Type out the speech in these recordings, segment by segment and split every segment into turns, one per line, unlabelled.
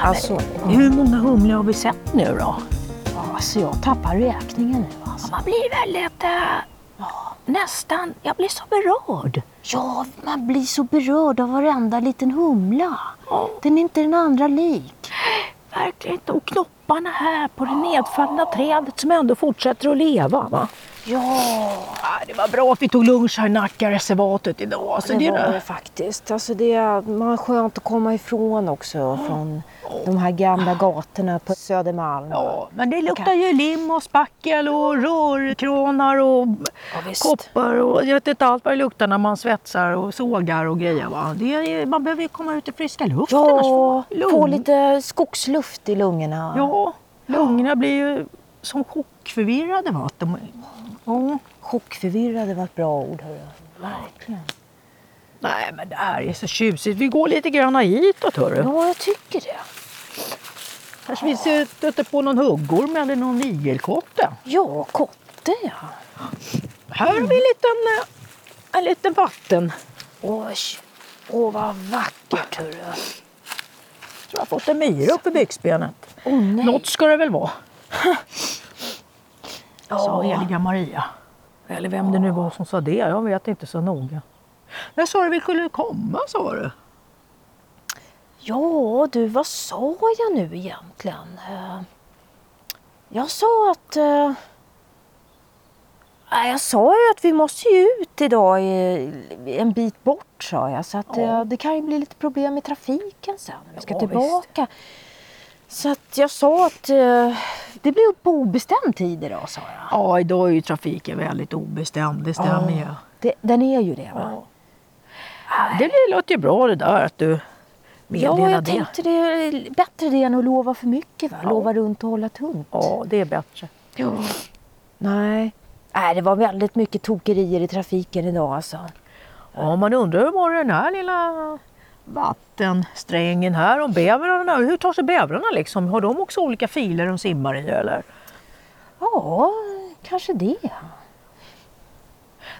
Alltså,
Hur många humlor har vi sett nu då?
alltså jag tappar räkningen nu alltså.
Man blir väldigt... eh, ja, nästan... Jag blir så berörd.
Ja, man blir så berörd av varenda liten humla. Den är inte den andra lik.
Verkligen inte. Och knopparna här på det nedfallna trädet som ändå fortsätter att leva. Va?
Ja,
Ja, det var bra att vi tog lunch här i Nackareservatet idag. Alltså,
det
det
var det
är
faktiskt. Alltså det är, man är skönt att komma ifrån också från de här gamla gatorna på Södermalm.
Ja, men det luktar ju lim och spackel och rörkranar och
Ja, visst.
koppar och jag vet inte allt vad det luktar när man svetsar och sågar och grejer. Va? Det är, man behöver ju komma ut i friska luften. annars
Ja,
får man
få
lung-
lite skogsluft i lungorna.
Ja, lungorna blir ju som chockförvirrade. Va? Att de, ja.
Chockförvirrad var ett bra ord. Hörru. Verkligen.
Nej, men det här är så tjusigt. Vi går lite grann hitåt, hörru.
Ja, jag tycker det.
Kanske vi stöter på någon huggorm eller någon igelkotte.
Ja, kotte ja.
Här har vi en liten, eh, en liten vatten.
Oj, åh vad vackert hörru.
Så jag har fått en myra uppe i byxbenet.
Åh nej.
Något ska det väl vara, sa
ja.
heliga Maria. Eller vem det nu var som sa det, jag vet inte så noga. När sa du vi skulle komma, sa du?
ja, du vad sa jag nu egentligen? Eh, Jag sa att... eh, nej, Jag sa ju att vi måste ju ut idag i- en bit bort sa jag. Så att
Ja.
eh, det kan ju bli lite problem med trafiken sen. när Vi ska
Ja,
tillbaka. Så att jag sa att eh, det blir på obestämd tid idag sa jag.
Ja, idag är ju trafiken väldigt obestämd, det stämmer ju.
Det, den är ju det va?
Det låter ju bra det där att du meddelar
Ja, jag
det.
tänkte det är bättre det än att lova för mycket. Va? Lova runt och hålla tunt.
Ja, det är bättre.
Nej. Nej, det var väldigt mycket tokerier i trafiken idag alltså.
Ja, man undrar hur var det den här lilla vattensträngen här om bävrarna. Hur tar sig bävrarna liksom? Har de också olika filer de simmar i eller?
Ja, kanske det.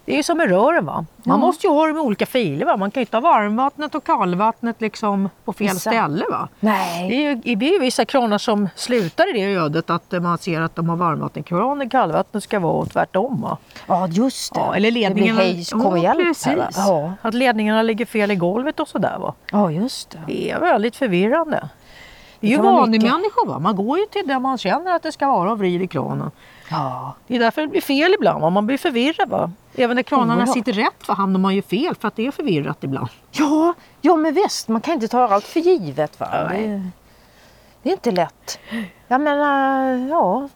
Det är ju som med rören va? Man måste ju ha dem i olika filer va? Man kan ju inte ha varmvattnet och kallvattnet liksom på fel
Vissa.
ställe va? Det
Nej.
är, ju, det är ju vissa kranar som slutar i det ödet att eh, man ser att de har varmvattenkranen, kallvattnet ska vara och tvärtom va?
Ja, just det.
Ja, eller ledningarna...
Det blir hejs, kom och hjälp här,
precis.
va? Ja.
Att ledningarna ligger fel i golvet och sådär va?
ja, just det.
Det är väldigt förvirrande. Vi
Det
är ju
kan vara
vanemänniskor va? Man går ju till där man känner att det ska vara och vrider kranen.
Ja.
Det är därför det blir fel ibland, va? man blir förvirrad. Va? Även när kranarna
Oerhört.
sitter rätt va? hamnar man ju fel för att det är förvirrat ibland.
Ja, ja, men visst. Man kan inte ta allt för givet. Va?
Nej.
Det, det är inte lätt. Jag menar, ja.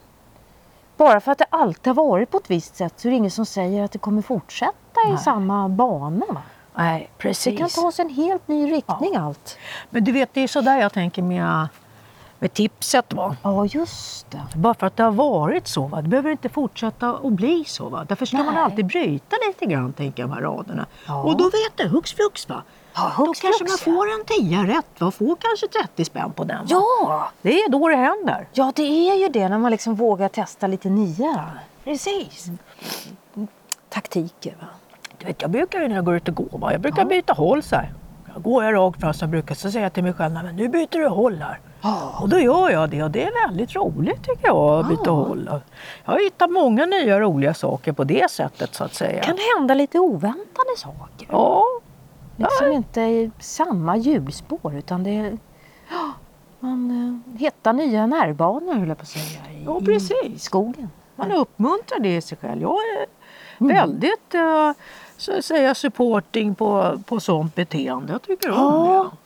Bara för att det alltid har varit på ett visst sätt så är det ingen som säger att det kommer fortsätta i samma bana. Va?
Nej,
Det
precis.
kan ta oss en helt ny riktning allt.
Men du vet, det är sådär jag tänker med, med tipset. Va?
Ja, just det.
Bara för att det har varit så, va? det behöver inte fortsätta att bli så. Va? Därför ska man
Nej.
alltid bryta lite grann, tänker jag, de här raderna.
Ja.
Och då vet du, hux flux. Va?
Ja,
då
hux
kanske
flux,
man får en tia rätt va? och får kanske 30 spänn på den. Va?
Ja!
Det är då det händer.
Ja, det är ju det när man liksom vågar testa lite nya Mm.
Precis.
taktiker. Va?
Du vet, jag brukar ju när jag går ut och går, va? jag brukar byta håll så här. Jag går jag rakt fram som jag brukar så säger jag till mig själv, "Nej, men nu byter du håll här.
Ja.
Och då gör jag det och det är väldigt roligt tycker jag att byta håll. Jag har hittat många nya roliga saker på det sättet så att säga.
Kan det hända lite oväntade saker?
Ja,
Liksom inte i samma hjulspår utan det är... Ja, Man eh, hittar nya närbanor höll jag på att säga. I,
Ja,
I
precis.
skogen. Mm.
man uppmuntrar det i sig själv. Jag är väldigt eh, så att säga supporting på, på sånt beteende. Jag tycker om
Ja.
det.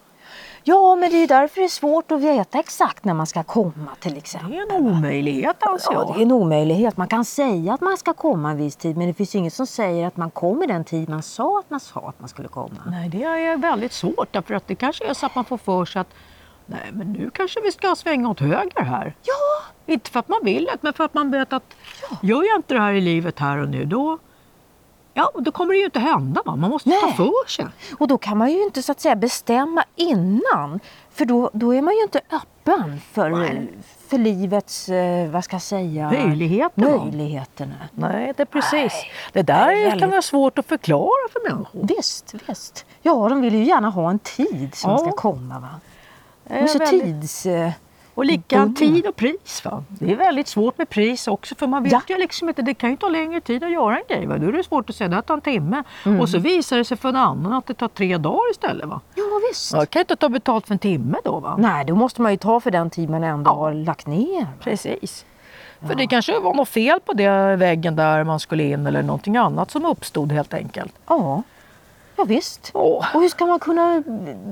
Ja, men det är därför det är svårt att veta exakt när man ska komma till exempel.
Det är en omöjlighet anser
Ja,
jag.
det är en omöjlighet. Man kan säga att man ska komma en viss tid men det finns ju inget som säger att man kommer den tid man sa att man sa att man skulle komma.
Nej, det är väldigt svårt därför att det kanske är så att man får för sig att nej, men nu kanske vi ska svänga åt höger här.
Ja,
Inte för att man vill det, men för att man vet att gör jag inte det här i livet här och nu, då, ja, då kommer det ju inte hända. Va? Man måste ta
Nej.
för sig.
och då kan man ju inte så att säga bestämma innan för då, då är man ju inte öppen för,
Nej.
för livets, eh, vad ska jag säga,
Möjligheter, va?
möjligheterna.
Nej, det är precis.
Nej,
det där
det är väldigt-
kan vara svårt att förklara för människor.
Visst, visst. Ja, de vill ju gärna ha en tid som
Ja.
ska komma. Va? De är Mm. så
väldigt-
tids... eh,
Och lika
Bundna.
tid och pris. Va? Det är väldigt svårt med pris också för man vet
Ja.
ju liksom inte, det kan ju ta längre tid att göra en grej. Va? Då är det svårt att säga det tar en timme
Mm.
och så visar det sig för en annan att det tar tre dagar istället. Va?
Ja, visst.
Jag kan ju inte ta betalt för en timme då. Va?
Nej, då måste man ju ta för den tid man ändå har lagt ner.
Precis. För det kanske var något fel på den väggen där man skulle in eller någonting annat som uppstod helt enkelt.
Ja, ja visst.
Åh,
Och hur ska man kunna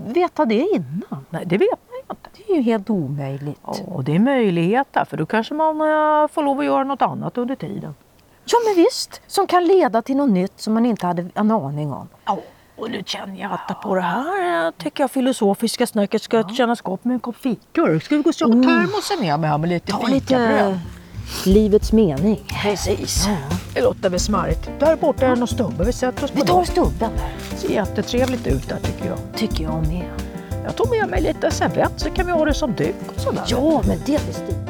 veta det innan?
nej, det vet man ju inte.
Det är ju helt omöjligt.
Ja, och det är möjlighet där, för då kanske man eh, får lov att göra något annat under tiden.
Ja men visst, som kan leda till något nytt som man inte hade en aning om.
Ja, och nu känner jag att på det här eh, tycker jag filosofiska snacket ska kännas gott med en kopp fikor. Ska vi gå och köpa termosen med mig här med Oh. lite
Ta
fikabröd?
lite livets mening.
Precis. Det låter väl smarrigt. Där borta är det någon stubbe. Vi sätter oss på
Vi tar
den.
stubben här,
Det ser jättetrevligt ut där tycker jag.
tycker jag med.
Jag tog med mig lite servett så kan vi ha det som duk och sådär.
Ja, men det är visst det.